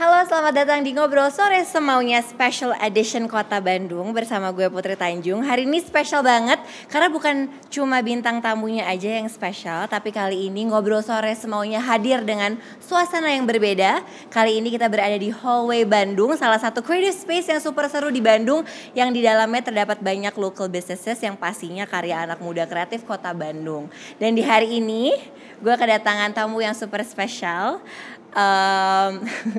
Halo, selamat datang di Ngobrol Sore Semaunya Special Edition Kota Bandung bersama gue Putri Tanjung. Hari ini spesial banget karena bukan cuma bintang tamunya aja yang spesial, tapi kali ini Ngobrol Sore Semaunya hadir dengan suasana yang berbeda. Kali ini kita berada di hallway Bandung, salah satu creative space yang super seru di Bandung yang di dalamnya terdapat banyak local businesses yang pastinya karya anak muda kreatif Kota Bandung. Dan di hari ini gue kedatangan tamu yang super spesial um,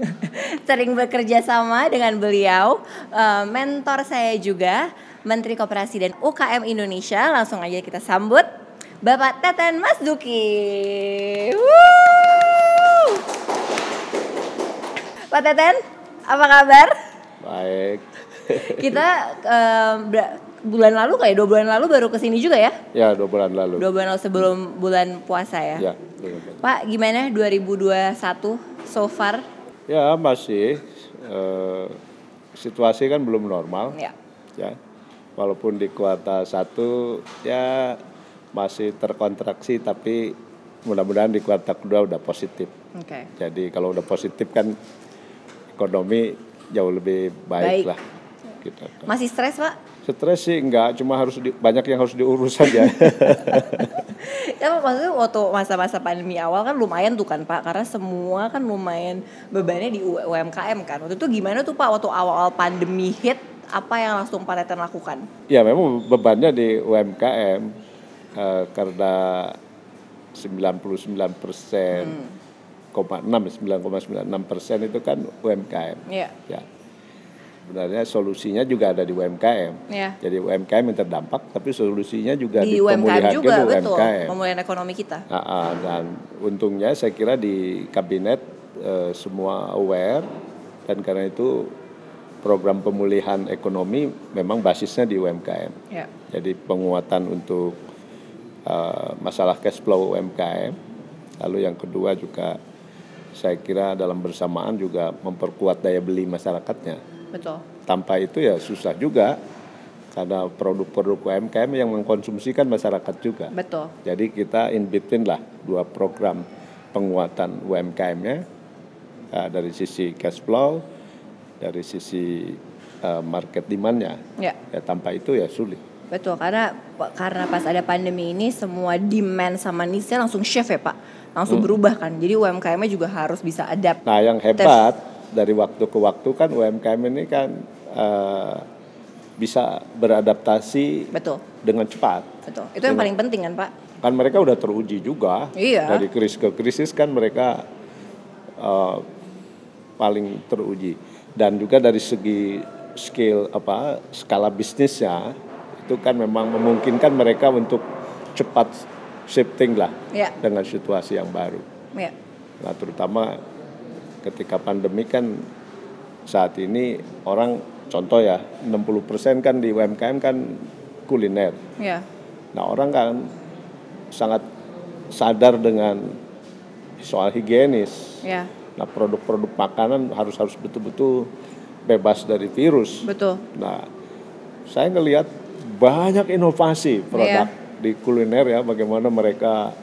sering bekerja sama dengan beliau, uh, mentor saya juga, Menteri Koperasi dan UKM Indonesia. Langsung aja kita sambut Bapak Teten Mas Duki. Wuh! Pak Teten, apa kabar? Baik. Kita um, ber- bulan lalu kayak dua bulan lalu baru kesini juga ya? Ya, dua bulan lalu. Dua bulan lalu sebelum bulan puasa ya? Ya, dua bulan. Pak, gimana 2021 so far? Ya, masih eh, situasi kan belum normal. Ya. Ya. Walaupun di kuartal satu ya masih terkontraksi tapi mudah-mudahan di kuartal kedua udah positif. Oke. Jadi kalau udah positif kan ekonomi jauh lebih Baik. baik, lah. Gitu. Masih stres, Pak? Stres sih enggak, cuma harus di- banyak yang harus diurus saja. Ya maksudnya waktu masa-masa pandemi awal kan lumayan tuh kan Pak Karena semua kan lumayan bebannya di U- UMKM kan Waktu itu gimana tuh Pak waktu awal-awal pandemi hit Apa yang langsung Pak Teten lakukan? Ya memang bebannya di UMKM eh, karena 99 Hmm. persen, 9,96 persen itu kan UMKM. Iya Ya, sebenarnya solusinya juga ada di UMKM. Iya. Jadi UMKM yang terdampak, tapi solusinya juga Di di, UMKM pemulihan juga ke betul UMKM. Pemulihan ekonomi kita Ah, ah, dan untungnya saya kira di kabinet eh, semua aware dan karena itu program pemulihan ekonomi memang basisnya di UMKM. Ya Jadi penguatan untuk eh, masalah cash flow UMKM. Lalu yang kedua juga saya kira dalam bersamaan juga memperkuat daya beli masyarakatnya. betul Tanpa itu ya susah juga karena produk-produk UMKM yang mengkonsumsikan masyarakat juga. Betul Jadi kita in between lah dua program penguatan UMKM-nya eh, dari sisi cash flow, dari sisi eh, market demand-nya. Ya Ya tanpa itu ya sulit. Betul, karena karena pas ada pandemi ini semua demand sama needs-nya langsung shift ya Pak Langsung berubah kan, jadi UMKM-nya juga harus bisa adapt Nah, yang hebat dari waktu ke waktu kan UMKM ini kan eh, bisa beradaptasi Betul, dengan cepat. betul Itu yang paling penting kan Pak Kan mereka udah teruji juga. Iya. Dari krisis ke krisis kan mereka eh, paling teruji. Dan juga dari segi skill apa skala bisnisnya itu kan memang memungkinkan mereka untuk cepat shifting lah Iya. dengan situasi yang baru. Ya Nah, terutama ketika pandemi kan saat ini orang contoh ya 60% kan di UMKM kan kuliner. Ya, Nah, orang kan sangat sadar dengan soal higienis. ya, Nah, produk-produk makanan harus harus betul-betul bebas dari virus. betul. Nah, saya ngelihat banyak inovasi produk di kuliner ya, bagaimana mereka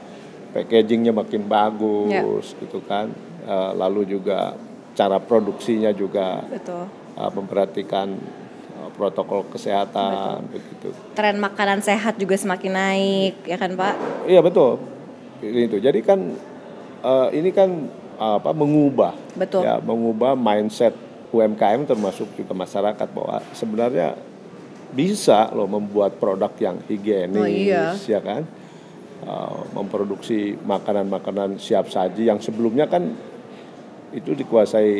packagingnya makin bagus, gitu kan. Eh, lalu juga cara produksinya juga Betul. eh, memperhatikan eh, protokol kesehatan, begitu. Tren makanan sehat juga semakin naik, ya kan Pak? Iya betul, itu. Jadi kan eh, ini kan apa mengubah, Betul. ya mengubah mindset UMKM termasuk juga masyarakat bahwa sebenarnya bisa loh membuat produk yang higienis, Oh, iya. ya kan, Eh, memproduksi makanan-makanan siap saji yang sebelumnya kan itu dikuasai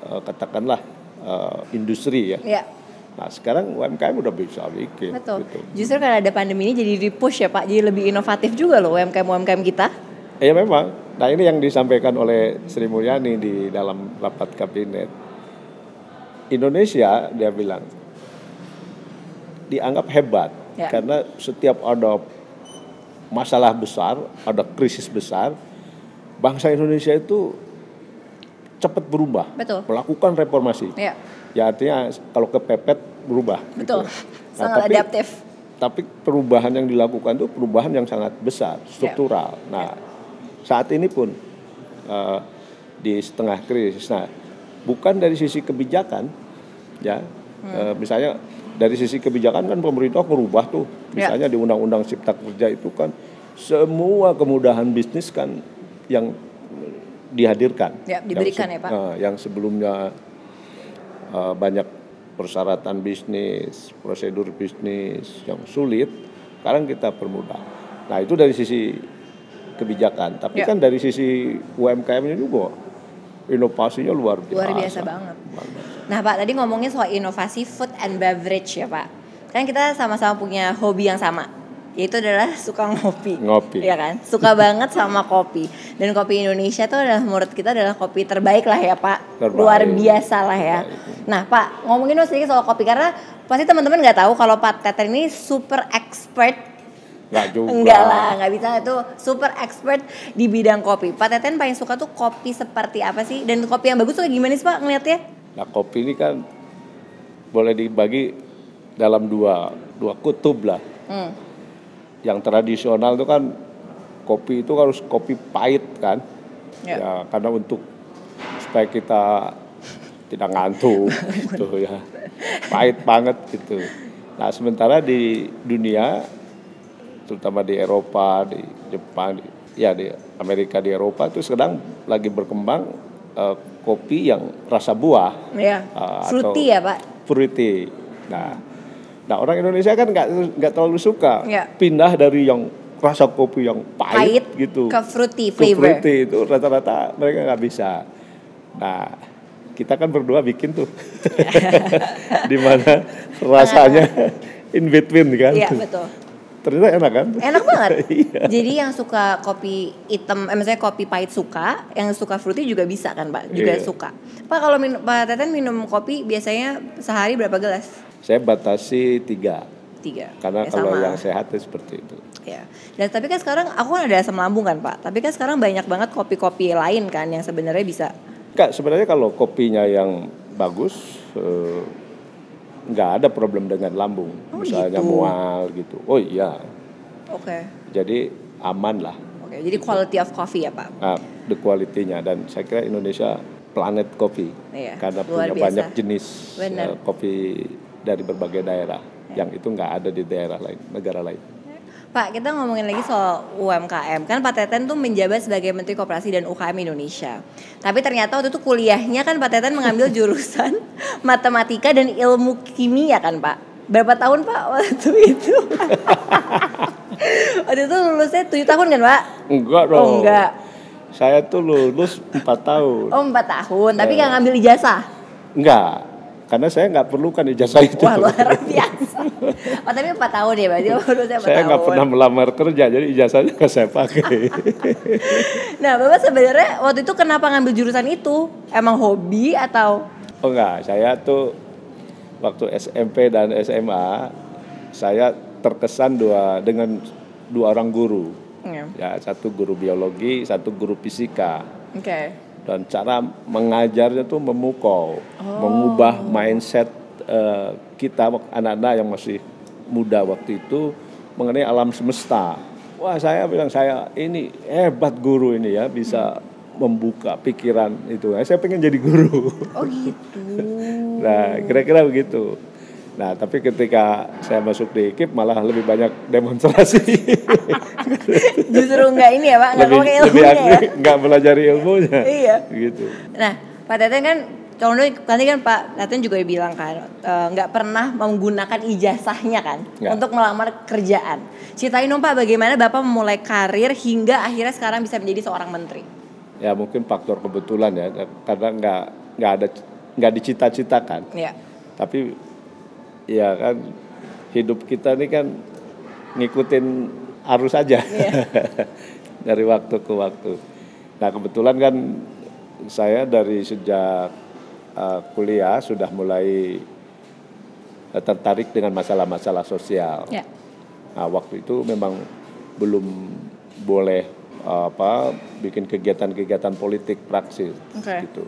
eh, katakanlah eh, industri ya. Ya, Nah sekarang UMKM udah bisa bikin. betul. gitu. Justru karena ada pandemi ini jadi di-push ya Pak, jadi lebih inovatif juga loh UMKM-UMKM kita. Ya memang. Nah ini yang disampaikan oleh Sri Mulyani di dalam rapat kabinet. Indonesia dia bilang dianggap hebat Ya. karena setiap ada masalah besar, ada krisis besar, bangsa Indonesia itu cepat berubah, Betul. melakukan reformasi. Iya. Ya artinya kalau kepepet berubah. Betul. gitu. Nah, Sangat tapi- adaptif. Tapi perubahan yang dilakukan itu perubahan yang sangat Ya. besar, struktural. Nah, saat ini pun eh, di setengah krisis. Nah, bukan dari sisi kebijakan, ya. Hmm. Eh, misalnya dari sisi kebijakan kan pemerintah merubah tuh. Ya. Misalnya di Undang-Undang Cipta Kerja itu kan semua kemudahan bisnis kan yang dihadirkan. Ya, diberikan Yang se- ya, Pak. eh, yang sebelumnya eh, banyak persyaratan bisnis, prosedur bisnis yang sulit, sekarang kita permudah. Nah, itu dari sisi kebijakan, Ya. tapi kan dari sisi UMKM-nya juga inovasinya luar biasa. Luar biasa banget. Luar biasa. Nah Pak, tadi ngomongin soal inovasi food and beverage ya Pak. Kan kita sama-sama punya hobi yang sama, yaitu adalah suka ngopi. Ngopi. Iya kan? Suka banget sama kopi. Dan kopi Indonesia tuh adalah menurut kita adalah kopi terbaik lah ya Pak. Terbaik. Luar biasa lah ya. Nah Pak, ngomongin dong sedikit soal kopi karena pasti teman-teman nggak tahu kalau Pak Teter ini super expert Nggak juga. Enggak lah, enggak bisa itu super expert di bidang kopi. Pak Teten paling suka tuh kopi seperti apa sih? Dan kopi yang bagus tuh kayak gimana sih Pak ngeliatnya? Nah, kopi ini kan boleh dibagi dalam dua dua kutub lah. Hmm. yang tradisional itu kan kopi itu harus kopi pahit kan Ya. ya, karena untuk supaya kita tidak ngantuk gitu ya pahit banget gitu nah sementara di dunia terutama di Eropa di Jepang di, ya di Amerika di Eropa itu sedang lagi berkembang eh, kopi yang rasa buah Ya. Ah, Fruity atau- ya Pak. fruity. Nah, nah orang Indonesia kan nggak nggak terlalu suka Iya. pindah dari yang rasa kopi yang Pahit pahit, gitu ke fruity ke flavor. fruity itu rata-rata mereka nggak bisa. Nah, kita kan berdua bikin tuh di mana rasanya in between kan. Nah. Iya, betul. Ternyata enak kan? Enak banget. Iya. Jadi yang suka kopi hitam, eh, maksudnya kopi pahit suka, yang suka fruity juga bisa kan Pak? Juga Iya. suka. Pak kalau minum, Pak Teten minum kopi biasanya sehari berapa gelas? Saya batasi tiga Tiga. karena Ya, kalau sama. yang sehat itu seperti itu. Ya. Dan tapi kan sekarang aku kan ada asam lambung kan Pak. Tapi kan sekarang banyak banget kopi-kopi lain kan yang sebenarnya bisa. Enggak, sebenarnya kalau kopinya yang bagus eh, nggak ada problem dengan lambung, Oh, misalnya gitu. mual gitu. Oh iya, Oke. jadi aman lah Oke. Jadi quality of coffee ya Pak. nah, the quality-nya dan saya kira Indonesia planet kopi Iya, karena luar punya biasa. banyak jenis Benar. Iya. eh, kopi dari berbagai daerah yang itu nggak ada di daerah lain, negara lain. Pak, kita ngomongin lagi soal UMKM. Kan Pak Teten tuh menjabat sebagai Menteri Koperasi dan UKM Indonesia. Tapi ternyata waktu itu kuliahnya kan Pak Teten mengambil jurusan matematika dan ilmu kimia kan Pak. Berapa tahun Pak waktu itu? waktu itu lulusnya 7 tahun kan Pak? Enggak dong. Oh, enggak. Saya tuh lulus 4 tahun. Oh 4 tahun, tapi nggak ngambil ijazah. Enggak, karena saya nggak perlukan ijazah itu. Wah luar biasa. Oh tapi 4 tahun ya berarti baru saya 4 saya nggak tahun. pernah melamar kerja jadi ijazahnya nggak saya pakai Nah bapak sebenarnya waktu itu kenapa ngambil jurusan itu? Emang hobi atau? oh enggak saya tuh waktu SMP dan SMA saya terkesan dua dengan dua orang guru Ya, ya satu guru biologi satu guru fisika Oke. dan cara mengajarnya tuh memukau Oh. mengubah mindset eh, kita anak-anak yang masih muda waktu itu mengenai alam semesta wah saya bilang saya ini hebat guru ini ya bisa membuka pikiran itu Nah, saya pengen jadi guru Oh gitu. Nah, kira-kira begitu. Nah, tapi ketika saya masuk di IKIP malah lebih banyak demonstrasi. Justru nggak ini ya pak, nggak lebih pakai lebih ilmunya ya. aktif, nggak belajari ilmunya. Iya. Gitu. Nah Pak Teten kan kalau dulu tadi kan Pak Teten juga bilang kan eh, nggak pernah menggunakan ijazahnya kan Nggak. untuk melamar kerjaan. Ceritain dong Pak bagaimana Bapak memulai karir hingga akhirnya sekarang bisa menjadi seorang menteri. Ya mungkin faktor kebetulan ya, karena nggak nggak ada nggak dicita-citakan. Iya. Tapi ya kan hidup kita ini kan ngikutin arus aja dari waktu ke waktu. Nah kebetulan kan saya dari sejak eh, kuliah sudah mulai eh, tertarik dengan masalah-masalah sosial. Iya. Nah, waktu itu memang belum boleh eh, apa bikin kegiatan-kegiatan politik praksis Oke. gitu.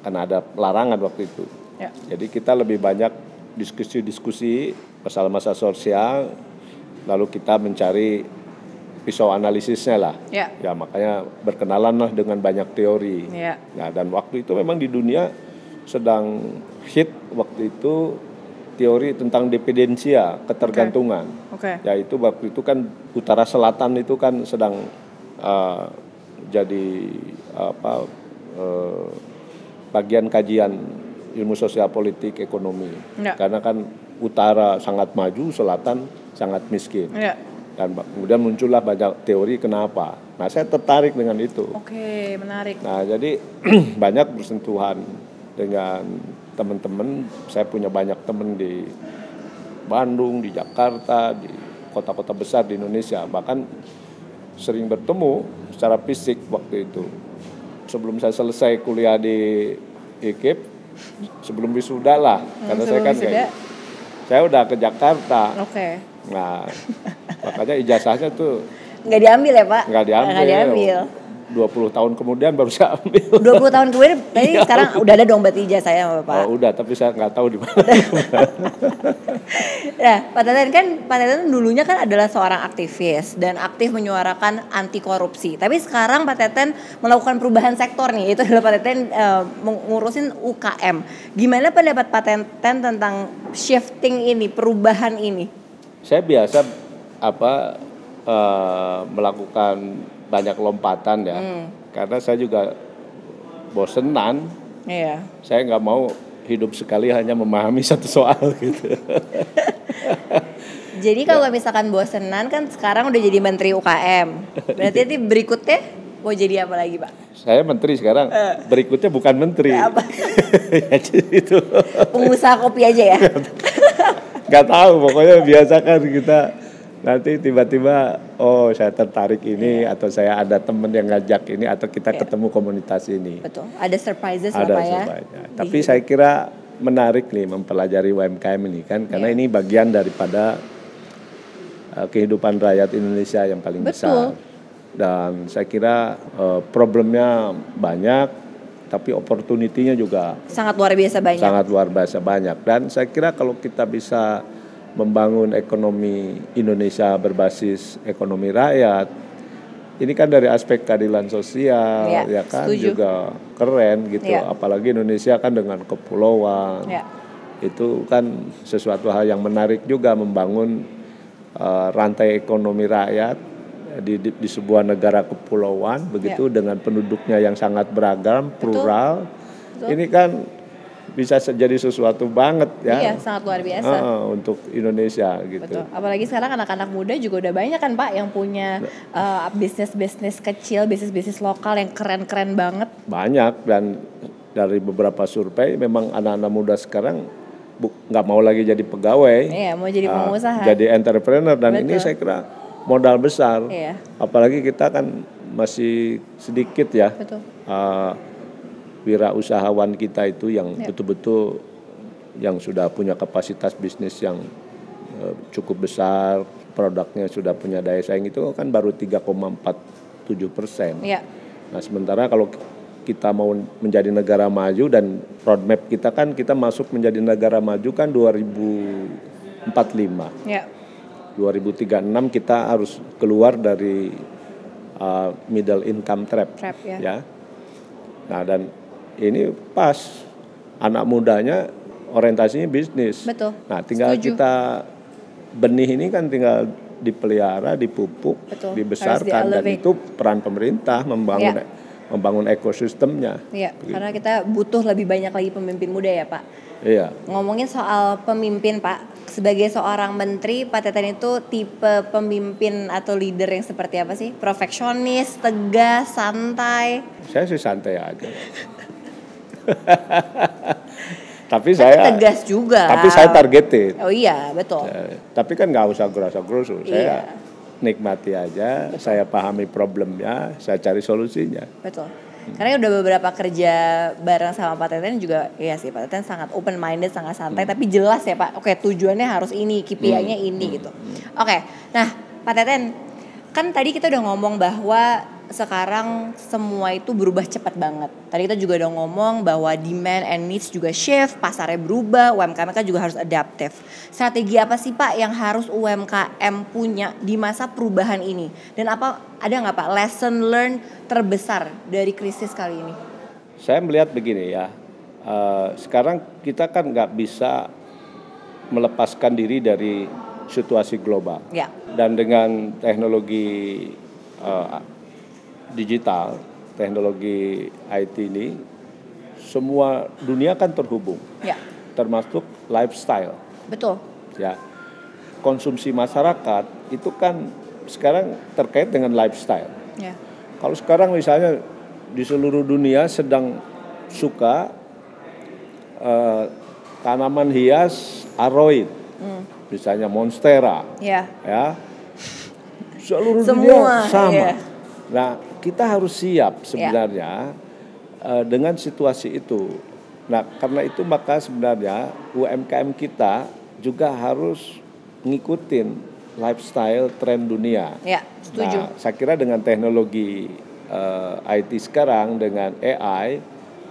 Karena ada larangan waktu itu. Ya. Jadi kita lebih banyak diskusi-diskusi masalah masa sosial, lalu kita mencari pisau analisisnya lah. Ya. makanya berkenalan lah dengan banyak teori. Ya. Nah, dan waktu itu memang di dunia sedang hit waktu itu teori tentang dependensia, ketergantungan. Oke. Ya itu waktu itu kan utara selatan itu kan sedang uh, jadi apa uh, bagian kajian ilmu sosial politik ekonomi. Ya. Karena kan utara sangat maju, selatan sangat miskin. Ya. Dan ba- kemudian muncullah banyak teori kenapa. Nah, saya tertarik dengan itu. Oke, menarik. Nah, jadi banyak bersentuhan dengan teman-teman. Saya punya banyak teman di Bandung, di Jakarta, di kota-kota besar di Indonesia. Bahkan sering bertemu secara fisik waktu itu. Sebelum saya selesai kuliah di IKIP, sebelum wisuda lah. Karena saya sebelum kan wisuda. kayak- saya udah ke Jakarta. Oke. Nah, makanya ijazahnya tuh Nggak diambil ya Pak? nggak diambil. Nggak diambil. 20 tahun kemudian baru saya ambil. 20 tahun kemudian, tadi sekarang udah ada dong berarti ijazah saya sama Bapak. Iya. Oh, udah, tapi saya nggak tahu di mana. Nah, Pak Teten kan Pak Teten dulunya kan adalah seorang aktivis dan aktif menyuarakan anti korupsi. Tapi sekarang Pak Teten melakukan perubahan sektor nih, itu adalah Pak Teten eh, mengurusin UKM. Gimana pendapat Pak Teten tentang shifting ini, perubahan ini? saya biasa apa eh, melakukan banyak lompatan ya, karena saya juga bosenan. Iya. Saya nggak mau hidup sekali hanya memahami satu soal gitu. Jadi Ya. kalau misalkan bosenan kan sekarang udah jadi menteri UKM. Berarti nanti berikutnya mau jadi apa lagi, Pak? saya menteri sekarang, berikutnya bukan menteri. Apa? ya jadi itu Pengusaha kopi aja Iya, ya. nggak tahu. Pokoknya biasakan kita nanti tiba-tiba oh saya tertarik ini atau saya ada temen yang ngajak ini atau kita ketemu komunitas ini. Betul. Ada surprises ada apa ya? surveinya. Tapi saya kira menarik nih mempelajari UMKM ini kan karena ini bagian daripada uh, kehidupan rakyat Indonesia yang paling besar. Dan saya kira uh, problemnya banyak tapi opportunity-nya juga Sangat luar biasa banyak. sangat luar biasa banyak dan saya kira kalau kita bisa membangun ekonomi Indonesia berbasis ekonomi rakyat ini kan dari aspek keadilan sosial Ya, ya kan setuju. juga keren gitu Ya. apalagi Indonesia kan dengan kepulauan Ya. itu kan sesuatu hal yang menarik juga membangun eh, rantai ekonomi rakyat di, di, di sebuah negara kepulauan begitu Ya. dengan penduduknya yang sangat beragam plural ini kan bisa se- jadi sesuatu banget ya Iya, sangat luar biasa. Heeh, untuk Indonesia gitu Betul. Apalagi sekarang anak-anak muda juga udah banyak kan Pak yang punya Ya. uh, bisnis-bisnis kecil, bisnis-bisnis lokal yang keren-keren banget. banyak dan dari beberapa survei memang anak-anak muda sekarang bu- nggak mau lagi jadi pegawai Iya, mau jadi Ah, pengusaha. jadi entrepreneur dan ini saya kira modal besar. Iya. Apalagi kita kan masih sedikit ya. Betul. ah, wirausahawan kita itu yang betul-betul yang sudah punya kapasitas bisnis yang eh, cukup besar, produknya sudah punya daya saing itu kan baru 3,47 persen. Iya. Nah sementara kalau kita mau menjadi negara maju dan roadmap kita kan kita masuk menjadi negara maju kan 2045. Iya. 2036 kita harus keluar dari uh, middle income trap. Trap, ya. Nah dan ini pas anak mudanya orientasinya bisnis. Betul. Nah tinggal kita benih ini kan tinggal dipelihara, dipupuk, Betul. dibesarkan Harus dan di-elevate. Ya. itu peran pemerintah membangun membangun ekosistemnya. Iya, karena kita butuh lebih banyak lagi pemimpin muda ya, Pak. Iya. Ngomongin soal pemimpin Pak, sebagai seorang menteri Pak Teten itu tipe pemimpin atau leader yang seperti apa sih? Perfeksionis, tegas, santai. Saya sih santai aja. Tapi saya Kan tegas juga. Tapi saya targeted. Oh iya, betul. Eh, tapi kan nggak usah gerasa-gerusu. Saya nikmati aja, saya pahami problemnya, saya cari solusinya. Betul. Karena udah beberapa kerja bareng sama Pak Teten juga iya sih Pak Teten sangat open minded, sangat Hmm. santai tapi jelas ya Pak. Oke, tujuannya harus ini, KPI-nya ini gitu. Oke. Nah, Pak Teten, kan tadi kita udah ngomong bahwa sekarang semua itu berubah cepat banget. Tadi kita juga udah ngomong bahwa demand and needs juga shift, pasarnya berubah, UMKM kan juga harus adaptif. Strategi apa sih Pak yang harus UMKM punya di masa perubahan ini? Dan apa ada nggak Pak lesson learned terbesar dari krisis kali ini? Saya melihat begini ya, eh, sekarang kita kan nggak bisa melepaskan diri dari situasi global. Ya, Dan dengan teknologi eh, digital, teknologi IT ini, semua dunia kan terhubung, ya, termasuk lifestyle. betul. Ya, konsumsi masyarakat itu kan sekarang terkait dengan lifestyle. Ya, Kalau sekarang misalnya di seluruh dunia sedang suka eh, tanaman hias aroid, misalnya monstera, ya, ya seluruh Semua, dunia sama. iya. Nah kita harus siap sebenarnya eh, dengan situasi itu. Nah karena itu maka sebenarnya UMKM kita juga harus ngikutin lifestyle tren dunia. ya, setuju. Nah, saya kira dengan teknologi eh, IT sekarang dengan AI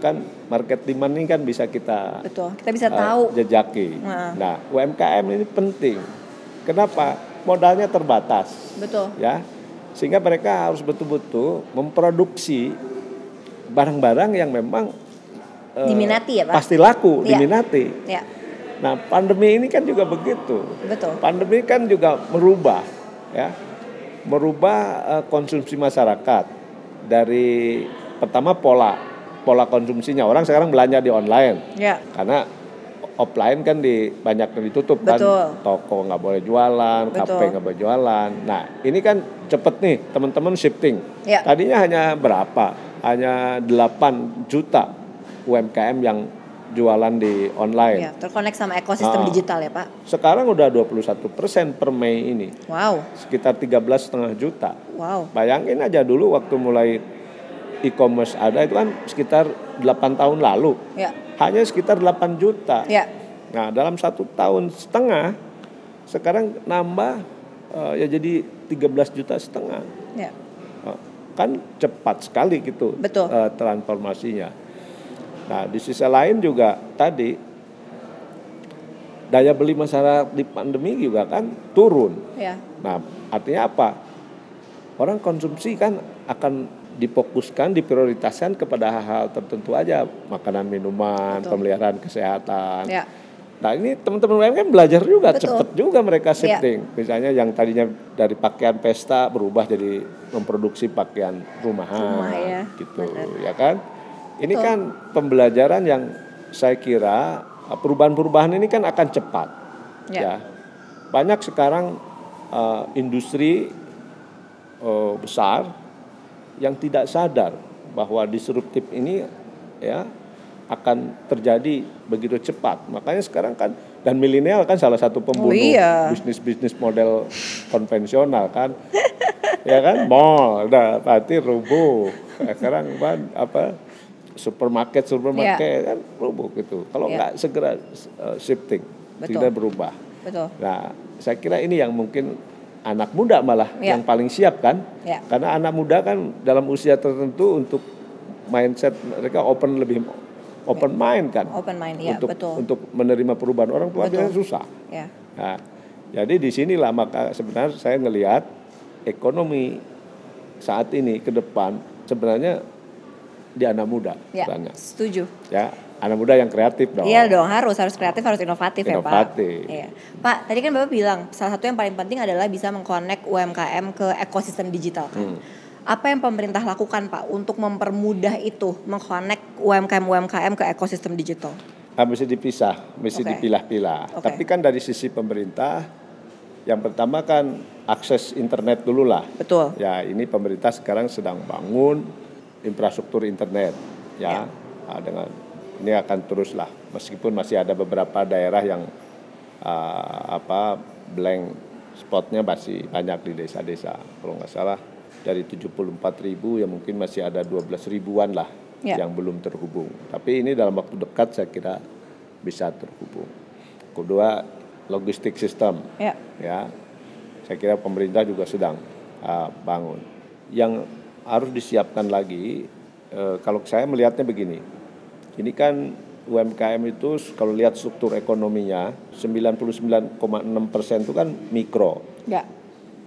kan market demand ini kan bisa kita Betul. Kita bisa eh, tahu. jejaki. Nah. Nah, UMKM ini penting. Kenapa? Modalnya terbatas Betul. ya sehingga mereka harus betul-betul memproduksi barang-barang yang memang eh, Diminati ya, Pak? pasti laku Iya. diminati Ya, nah pandemi ini kan juga begitu betul. pandemi kan juga merubah ya merubah eh, konsumsi masyarakat dari pertama pola pola konsumsinya orang sekarang belanja di online Ya, karena offline kan di banyak yang ditutup Betul. kan toko nggak boleh jualan Betul. kafe nggak boleh jualan nah ini kan cepet nih teman-teman shifting Ya. tadinya hanya berapa hanya 8 juta UMKM yang jualan di online ya, terkonek sama ekosistem Ah. digital ya Pak. sekarang udah 21 persen per Mei ini Wow, sekitar 13,5 juta wow. bayangin aja dulu waktu mulai e-commerce ada itu kan sekitar 8 tahun lalu Ya, hanya sekitar 8 juta ya, Nah, dalam satu tahun setengah sekarang nambah eh, ya jadi 13 juta setengah. ya, Eh, kan cepat sekali gitu Betul. eh, transformasinya. Nah, di sisi lain juga tadi daya beli masyarakat di pandemi juga kan turun. ya, Nah, artinya apa? Orang konsumsi kan akan difokuskan, diprioritaskan kepada hal-hal tertentu aja, makanan, minuman, Betul. pemeliharaan kesehatan. ya, Nah ini teman-teman UMKM belajar juga, Betul. cepet juga mereka Iya. shifting. Misalnya yang tadinya dari pakaian pesta berubah jadi memproduksi pakaian rumahan, Rumah ya, gitu, benar. ya kan? Ini Betul. kan pembelajaran yang saya kira eh, perubahan-perubahan ini kan akan cepat, Iya. ya. Banyak sekarang eh, industri eh, besar yang tidak sadar bahwa disruptif ini ya akan terjadi begitu cepat. Makanya sekarang kan dan milenial kan salah satu pembunuh iya. bisnis-bisnis model konvensional kan. ya kan mall udah berarti rubuh. Sekarang kan apa supermarket supermarket kan rubuh gitu. Iya. Kalau nggak segera eh, shifting, Betul. segera berubah. betul. Nah, saya kira ini yang mungkin anak muda malah Ya. yang paling siap kan? Ya. Karena anak muda kan dalam usia tertentu untuk mindset mereka open lebih open mind kan? Open mind, ya, untuk betul. untuk menerima perubahan orang tua Betul. biasanya susah. Ya, Nah, jadi di sinilah maka sebenarnya saya ngelihat ekonomi saat ini ke depan sebenarnya di anak muda ya, perannya. setuju. ya anak muda yang kreatif dong. Iya dong, harus harus kreatif, harus inovatif, Inovatif. ya Pak. Iya. Pak, tadi kan Bapak bilang salah satu yang paling penting adalah bisa mengkonek UMKM ke ekosistem digital Hmm. kan. Apa yang pemerintah lakukan Pak untuk mempermudah itu mengkonek UMKM UMKM ke ekosistem digital? Ah, mesti dipisah, mesti Oke. dipilah-pilah. Oke. Tapi kan dari sisi pemerintah, yang pertama kan akses internet dulu lah. Betul. Ya ini pemerintah sekarang sedang bangun infrastruktur internet, ya Ah, dengan ini akan terus lah. Meskipun masih ada beberapa daerah yang ah, apa blank spotnya masih banyak di desa-desa. Kalau nggak salah dari 74.000 ya mungkin masih ada 12 ribuan lah Ya. yang belum terhubung. Tapi ini dalam waktu dekat saya kira bisa terhubung. Kedua logistik sistem Ya, ya saya kira pemerintah juga sedang uh, bangun ah, yang harus disiapkan lagi. Eh, kalau saya melihatnya begini, ini kan UMKM itu s- kalau lihat struktur ekonominya 99,6 persen itu kan mikro, ya, Enggak.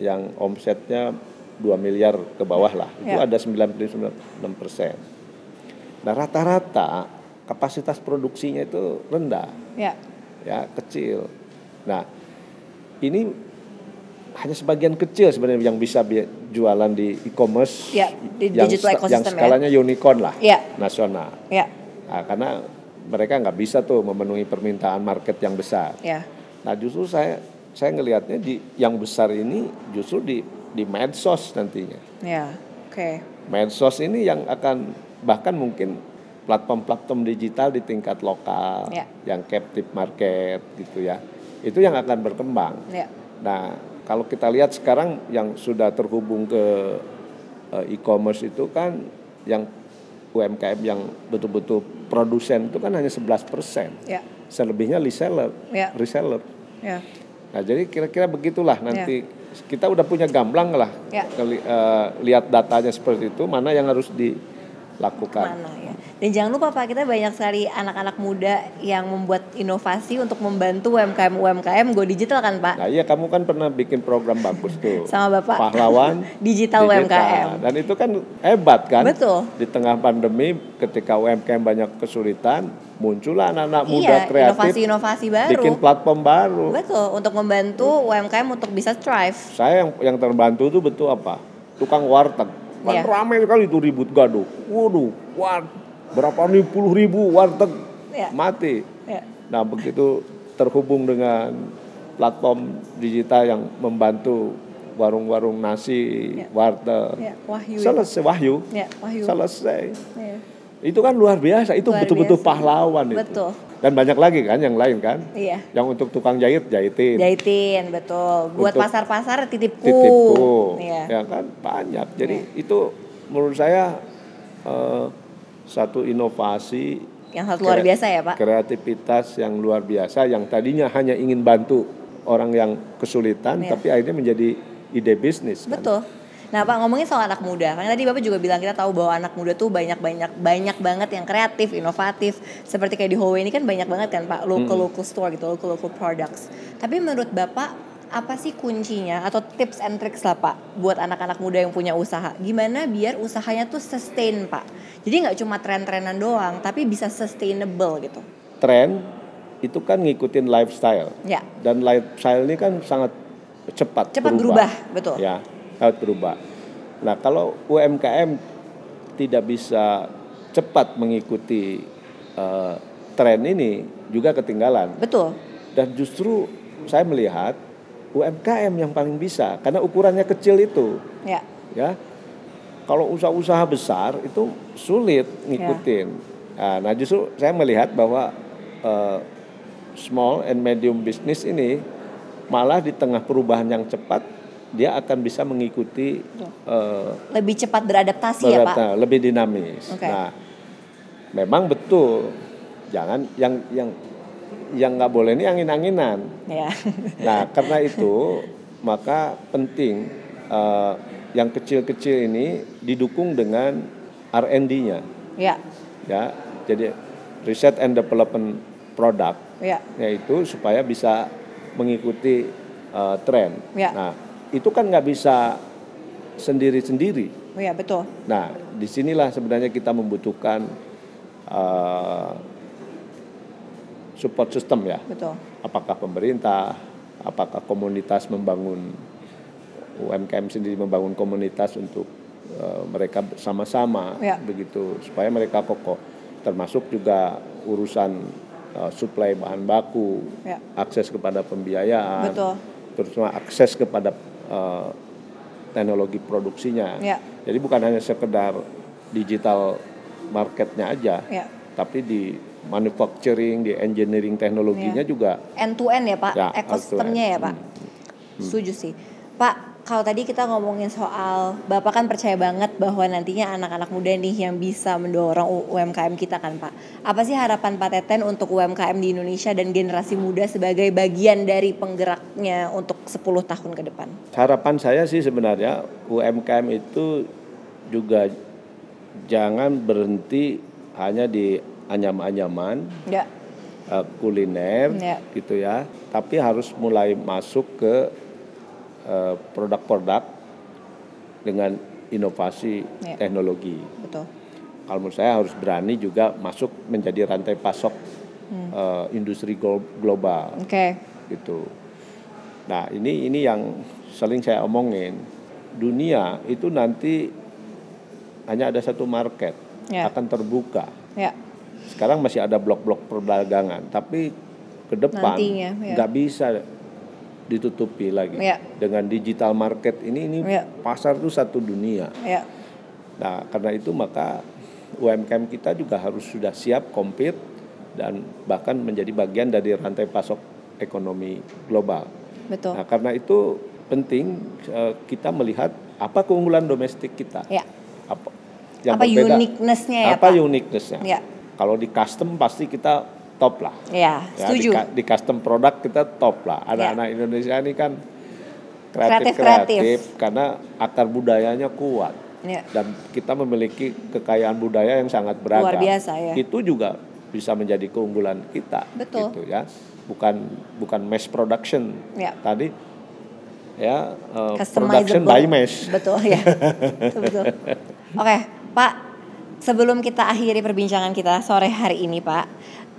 yang omsetnya 2 miliar ke bawah lah, itu Ya. ada 99,6 persen. Nah rata-rata kapasitas produksinya itu rendah Ya. ya kecil. Nah, ini hanya sebagian kecil sebenarnya yang bisa bi- jualan di e-commerce Ya, di yang, digital sta- yang ecosystem ya. skalanya unicorn lah Ya. nasional. Ya. Nah, karena mereka nggak bisa tuh memenuhi permintaan market yang besar. Ya. Nah, justru saya saya ngelihatnya di yang besar ini justru di di medsos nantinya. Ya. Oke. Medsos ini yang akan bahkan mungkin platform-platform digital di tingkat lokal Ya. yang captive market gitu ya. Itu yang akan berkembang. Ya. Nah, kalau kita lihat sekarang yang sudah terhubung ke eh, e-commerce itu kan yang UMKM yang betul-betul produsen itu kan hanya 11 persen. Ya. Selebihnya reseller. Ya. reseller. Ya. Nah, jadi kira-kira Ya. begitulah nanti kita udah punya gamblang lah. Ya. Keli- eh, lihat datanya seperti itu, mana yang harus dilakukan. Mana ya. Dan jangan lupa Pak, kita banyak sekali anak-anak muda yang membuat inovasi untuk membantu UMKM UMKM Go Digital kan Pak? Nah, iya kamu kan pernah bikin program bagus tuh. Sama Bapak. Pahlawan Digital UMKM. Dan itu kan hebat kan? Betul. Di tengah pandemi ketika UMKM banyak kesulitan, muncullah anak-anak muda iya, kreatif inovasi-inovasi baru. bikin Hmm. platform baru. Betul, untuk membantu UMKM untuk bisa thrive. Saya yang yang terbantu tuh betul apa? Tukang warteg. Kan Iya. ramai sekali itu ribut gaduh. Waduh, war berapa nih puluh ribu warteg Iya. mati. Ya. Nah begitu terhubung dengan platform digital yang membantu warung-warung nasi, Iya. Ya. warteg, Wahyu. ya. selesai wahyu, Ya. Wahyu. selesai. Ya. Itu kan luar biasa, itu Luar betul-betul biasa. pahlawan Betul. itu. Dan banyak lagi kan yang lain kan, Iya. yang untuk tukang jahit jahitin, Jahitin, betul. Buat Iya. Untuk pasar-pasar titipku. titipku, Iya. ya kan banyak. Jadi itu menurut saya eh, satu inovasi Yang sangat luar Kre- biasa ya Pak. Kreativitas yang luar biasa yang tadinya hanya ingin bantu orang yang kesulitan Iya. tapi akhirnya menjadi ide bisnis. kan. Betul. Nah Pak ngomongin soal anak muda, kan tadi Bapak juga bilang kita tahu bahwa anak muda tuh banyak banyak banyak banget yang kreatif, inovatif. Seperti kayak di Huawei ini kan banyak banget kan Pak local local store gitu, local local products. Tapi menurut Bapak apa sih kuncinya atau tips and tricks lah Pak buat anak-anak muda yang punya usaha? Gimana biar usahanya tuh sustain Pak? Jadi nggak cuma tren-trenan doang, tapi bisa sustainable gitu. Tren itu kan ngikutin lifestyle. Ya, Dan lifestyle ini kan sangat cepat cepat berubah, betul. Ya, sangat berubah. Nah, kalau UMKM tidak bisa cepat mengikuti eh, tren ini juga ketinggalan. Betul. dan justru saya melihat UMKM yang paling bisa karena ukurannya kecil itu Ya, ya kalau usaha-usaha besar itu sulit Ya. ngikutin Nah, nah justru saya melihat bahwa eh, small and medium business ini malah di tengah perubahan yang cepat dia akan bisa mengikuti eh, lebih cepat beradaptasi ya Pak. Berat, nah, lebih dinamis. Oke. Nah, memang betul jangan yang yang yang nggak boleh ini angin-anginan. Ya. Nah, karena itu maka penting eh, yang kecil-kecil ini didukung dengan R&D-nya, Ya. ya. Jadi research and development product Ya. yaitu supaya bisa mengikuti eh, tren. Ya. Nah, itu kan nggak bisa sendiri-sendiri. Oh Ya iya, betul. Nah, disinilah sebenarnya kita membutuhkan eh, support system ya. Betul. Apakah pemerintah, apakah komunitas membangun UMKM sendiri membangun komunitas untuk eh, mereka sama-sama Ya. begitu supaya mereka kokoh. Termasuk juga urusan eh, suplai bahan baku, Ya. akses kepada pembiayaan, Betul. terutama akses kepada eh, teknologi produksinya. Ya. Jadi bukan hanya sekedar digital marketnya aja, Ya. tapi di manufacturing, di engineering teknologinya juga. end to end ya pak, Ya, Hmm. ekosistemnya end to end. ya pak. Setuju sih, pak. Kalau tadi kita ngomongin soal bapak kan percaya banget bahwa nantinya anak-anak muda nih yang bisa mendorong U- UMKM kita kan pak. Apa sih harapan Pak Teten untuk UMKM di Indonesia dan generasi muda sebagai bagian dari penggeraknya untuk 10 tahun ke depan? Harapan saya sih sebenarnya UMKM itu juga jangan berhenti hanya di anyam-anyaman Enggak. Ya, eh, kuliner Ya. gitu ya, tapi harus mulai masuk ke eh, produk-produk dengan inovasi Ya. teknologi. Betul. Kalau menurut saya harus berani juga masuk menjadi rantai pasok eh, industri glo- global Oke. gitu. Nah ini ini yang sering saya omongin dunia itu nanti hanya ada satu market Ya. akan terbuka. Ya. Sekarang masih ada blok-blok perdagangan, tapi ke depan Nantinya, ya. nggak bisa ditutupi lagi Ya. dengan digital market ini ini Ya. pasar tuh satu dunia. Ya. Nah karena itu maka UMKM kita juga harus sudah siap kompet dan bahkan menjadi bagian dari rantai pasok ekonomi global. Betul. Nah, karena itu penting eh, kita melihat apa keunggulan domestik kita. Ya. Apa Iya. Ya. apa uniqueness-nya ya Pak? apa Iya. uniqueness-nya? Ya. Kalau di custom pasti kita top lah. Ya, Ya, di setuju. ka- di, custom product kita top lah. Iya. Anak-anak Indonesia ini kan kreatif-kreatif karena akar budayanya kuat Ya. dan kita memiliki kekayaan budaya yang sangat beragam. Luar biasa, ya. Itu juga bisa menjadi keunggulan kita. Betul. Gitu ya. Bukan bukan mass production. Ya. Tadi ya eh, production Customizable. by mass. Betul ya. Betul. betul. Oke, Pak, sebelum kita akhiri perbincangan kita sore hari ini, Pak.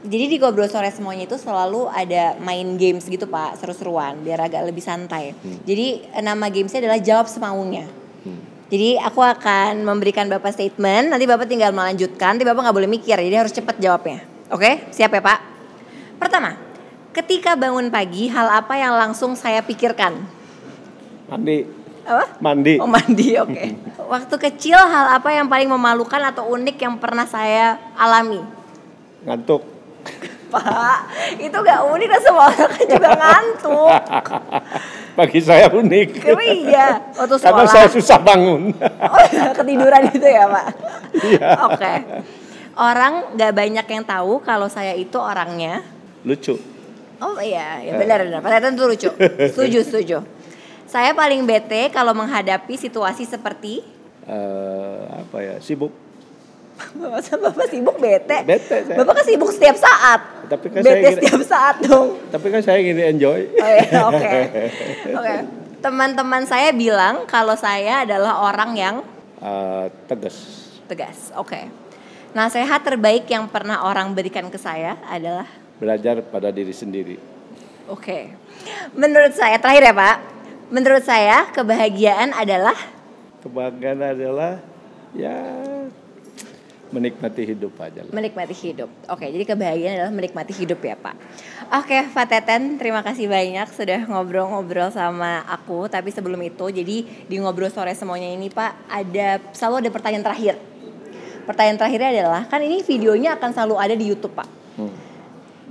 Jadi di Gobrol Sore semuanya itu selalu ada main games gitu, Pak, seru-seruan biar agak lebih santai. Hmm. Jadi eh, nama gamesnya adalah jawab semaunya. Jadi aku akan memberikan Bapak statement, nanti Bapak tinggal melanjutkan, nanti Bapak nggak boleh mikir, jadi harus cepat jawabnya. Oke, siap ya Pak? Pertama, ketika bangun pagi, hal apa yang langsung saya pikirkan? Mandi, Apa? mandi. Oh mandi, oke. Waktu kecil hal apa yang paling memalukan atau unik yang pernah saya alami? Ngantuk. Pak, itu gak unik dan semua orang kan juga ngantuk. Bagi saya unik. Tapi iya, waktu Karena sekolah. saya susah bangun. Oh, ketiduran itu ya Pak? Oke. Orang gak banyak yang tahu kalau saya itu orangnya. Lucu. Oh iya, ya benar benar. Padahal itu lucu. Setuju, setuju. Saya paling bete kalau menghadapi situasi seperti Eh, apa ya? Sibuk. Bapak, bapak sibuk bete. Bete saya. Bapak kan sibuk setiap saat. Tapi kan bete saya gini- setiap saat dong. Tapi kan saya ingin enjoy. Oh iya, oke. Oke. Teman-teman saya bilang kalau saya adalah orang yang Eh, tegas. tegas. Oke. Nasehat terbaik yang pernah orang berikan ke saya adalah Belajar pada diri sendiri. oke. Menurut saya terakhir ya, Pak. Menurut saya kebahagiaan adalah Kebahagiaan adalah ya menikmati hidup aja lah. menikmati hidup. Oke, jadi kebahagiaan adalah menikmati hidup ya Pak. Oke, Pak Teten, terima kasih banyak sudah ngobrol-ngobrol sama aku. Tapi sebelum itu, jadi di ngobrol sore semuanya ini Pak, ada selalu ada pertanyaan terakhir. Pertanyaan terakhirnya adalah, kan ini videonya akan selalu ada di YouTube Pak. Hmm.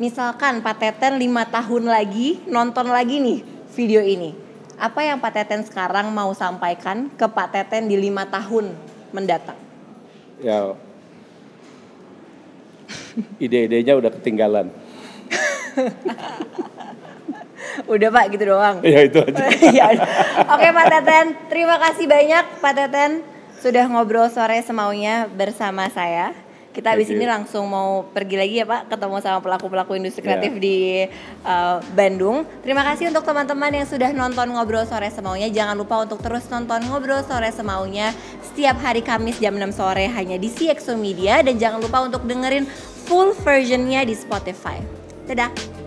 Misalkan Pak Teten 5 tahun lagi nonton lagi nih video ini. Apa yang Pak Teten sekarang mau sampaikan ke Pak Teten di lima tahun mendatang? Ya ide-idenya udah ketinggalan. Udah Pak gitu doang. Ya itu aja. Ya udah. Oke Pak Teten, terima kasih banyak Pak Teten sudah ngobrol sore semaunya bersama saya. Kita habis Thank ini you. langsung mau pergi lagi ya Pak, ketemu sama pelaku-pelaku industri Ya. kreatif di uh, Bandung. Terima kasih untuk teman-teman yang sudah nonton ngobrol sore semaunya. Jangan lupa untuk terus nonton ngobrol sore semaunya setiap hari Kamis jam 6 sore hanya di CXO Media dan jangan lupa untuk dengerin full versionnya di Spotify. Dadah.